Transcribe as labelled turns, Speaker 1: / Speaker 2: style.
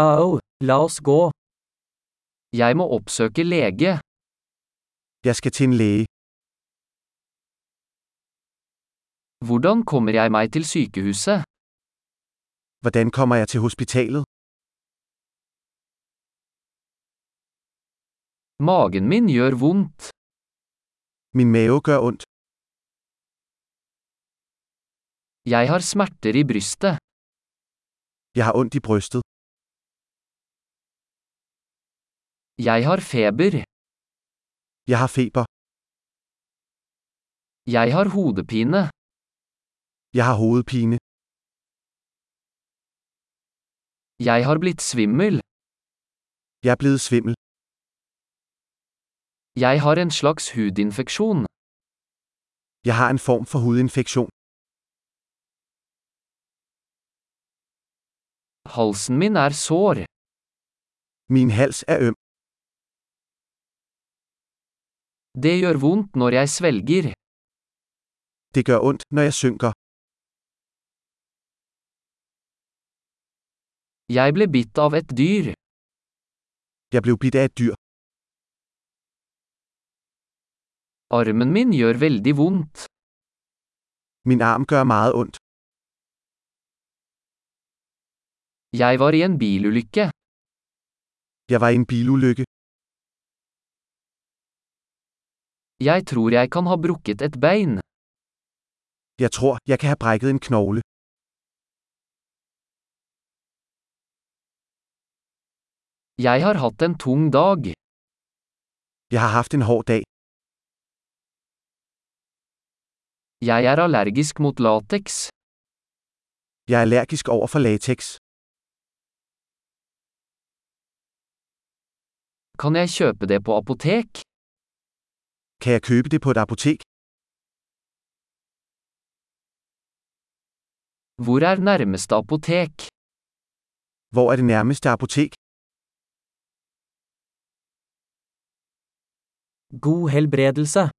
Speaker 1: Au, la oss gå. Jeg må oppsøke lege.
Speaker 2: Jeg skal til en læge.
Speaker 1: Hvordan kommer jeg meg til sykehuset?
Speaker 2: Hvordan kommer jeg til hospitalet?
Speaker 1: Magen min gjør vondt.
Speaker 2: Min mave gør ondt.
Speaker 1: Jeg har smerter i brystet.
Speaker 2: Jeg har ondt i brystet.
Speaker 1: Jeg har feber.
Speaker 2: Jeg har feber.
Speaker 1: Jeg har hodepine.
Speaker 2: Jeg har hovedpine.
Speaker 1: Jeg har blitt svimmel.
Speaker 2: Jeg er blevet svimmel.
Speaker 1: Jeg har en slags hudinfeksjon.
Speaker 2: Jeg har en form for hudinfektion.
Speaker 1: Halsen min er sår.
Speaker 2: Min hals er øm.
Speaker 1: Det gjør vondt når jeg svelger.
Speaker 2: Det gør ondt, når jeg synker.
Speaker 1: Jeg ble bitt av et dyr.
Speaker 2: Jeg blev bidt af et dyr.
Speaker 1: Armen min gjør veldig vondt.
Speaker 2: Min arm gør meget ondt.
Speaker 1: Jeg var i en bilulykke.
Speaker 2: Jeg var i en bilulykke.
Speaker 1: Jeg tror jeg kan ha brukket et bein.
Speaker 2: Jeg tror, jeg kan have brækket en knogle.
Speaker 1: Jeg har hatt en tung dag.
Speaker 2: Jeg har haft en hård dag.
Speaker 1: Jeg er allergisk mot lateks.
Speaker 2: Jeg er allergisk over for latex.
Speaker 1: Kan jeg kjøpe det på apotek?
Speaker 2: Kan jeg købe det på et apotek?
Speaker 1: Hvor er nærmeste apotek?
Speaker 2: Hvor er det nærmeste apotek?
Speaker 1: God helbredelse.